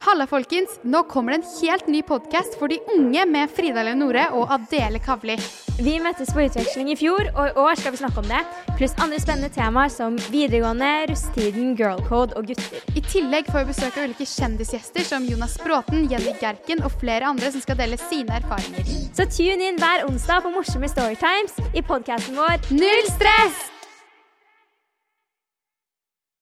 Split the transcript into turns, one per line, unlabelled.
Halla, folkens! Nå kommer det en helt ny podkast for de unge med Frida Leonore og Adele Kavli.
Vi møttes på utveksling i fjor, og i år skal vi snakke om det. Pluss andre spennende temaer som videregående, russetiden, girlcode og gutter.
I tillegg får vi besøk av ulike kjendisgjester som Jonas Bråten, Jenny Gerken og flere andre som skal dele sine erfaringer.
Så tune inn hver onsdag på morsomme Storytimes i podkasten vår
Null stress!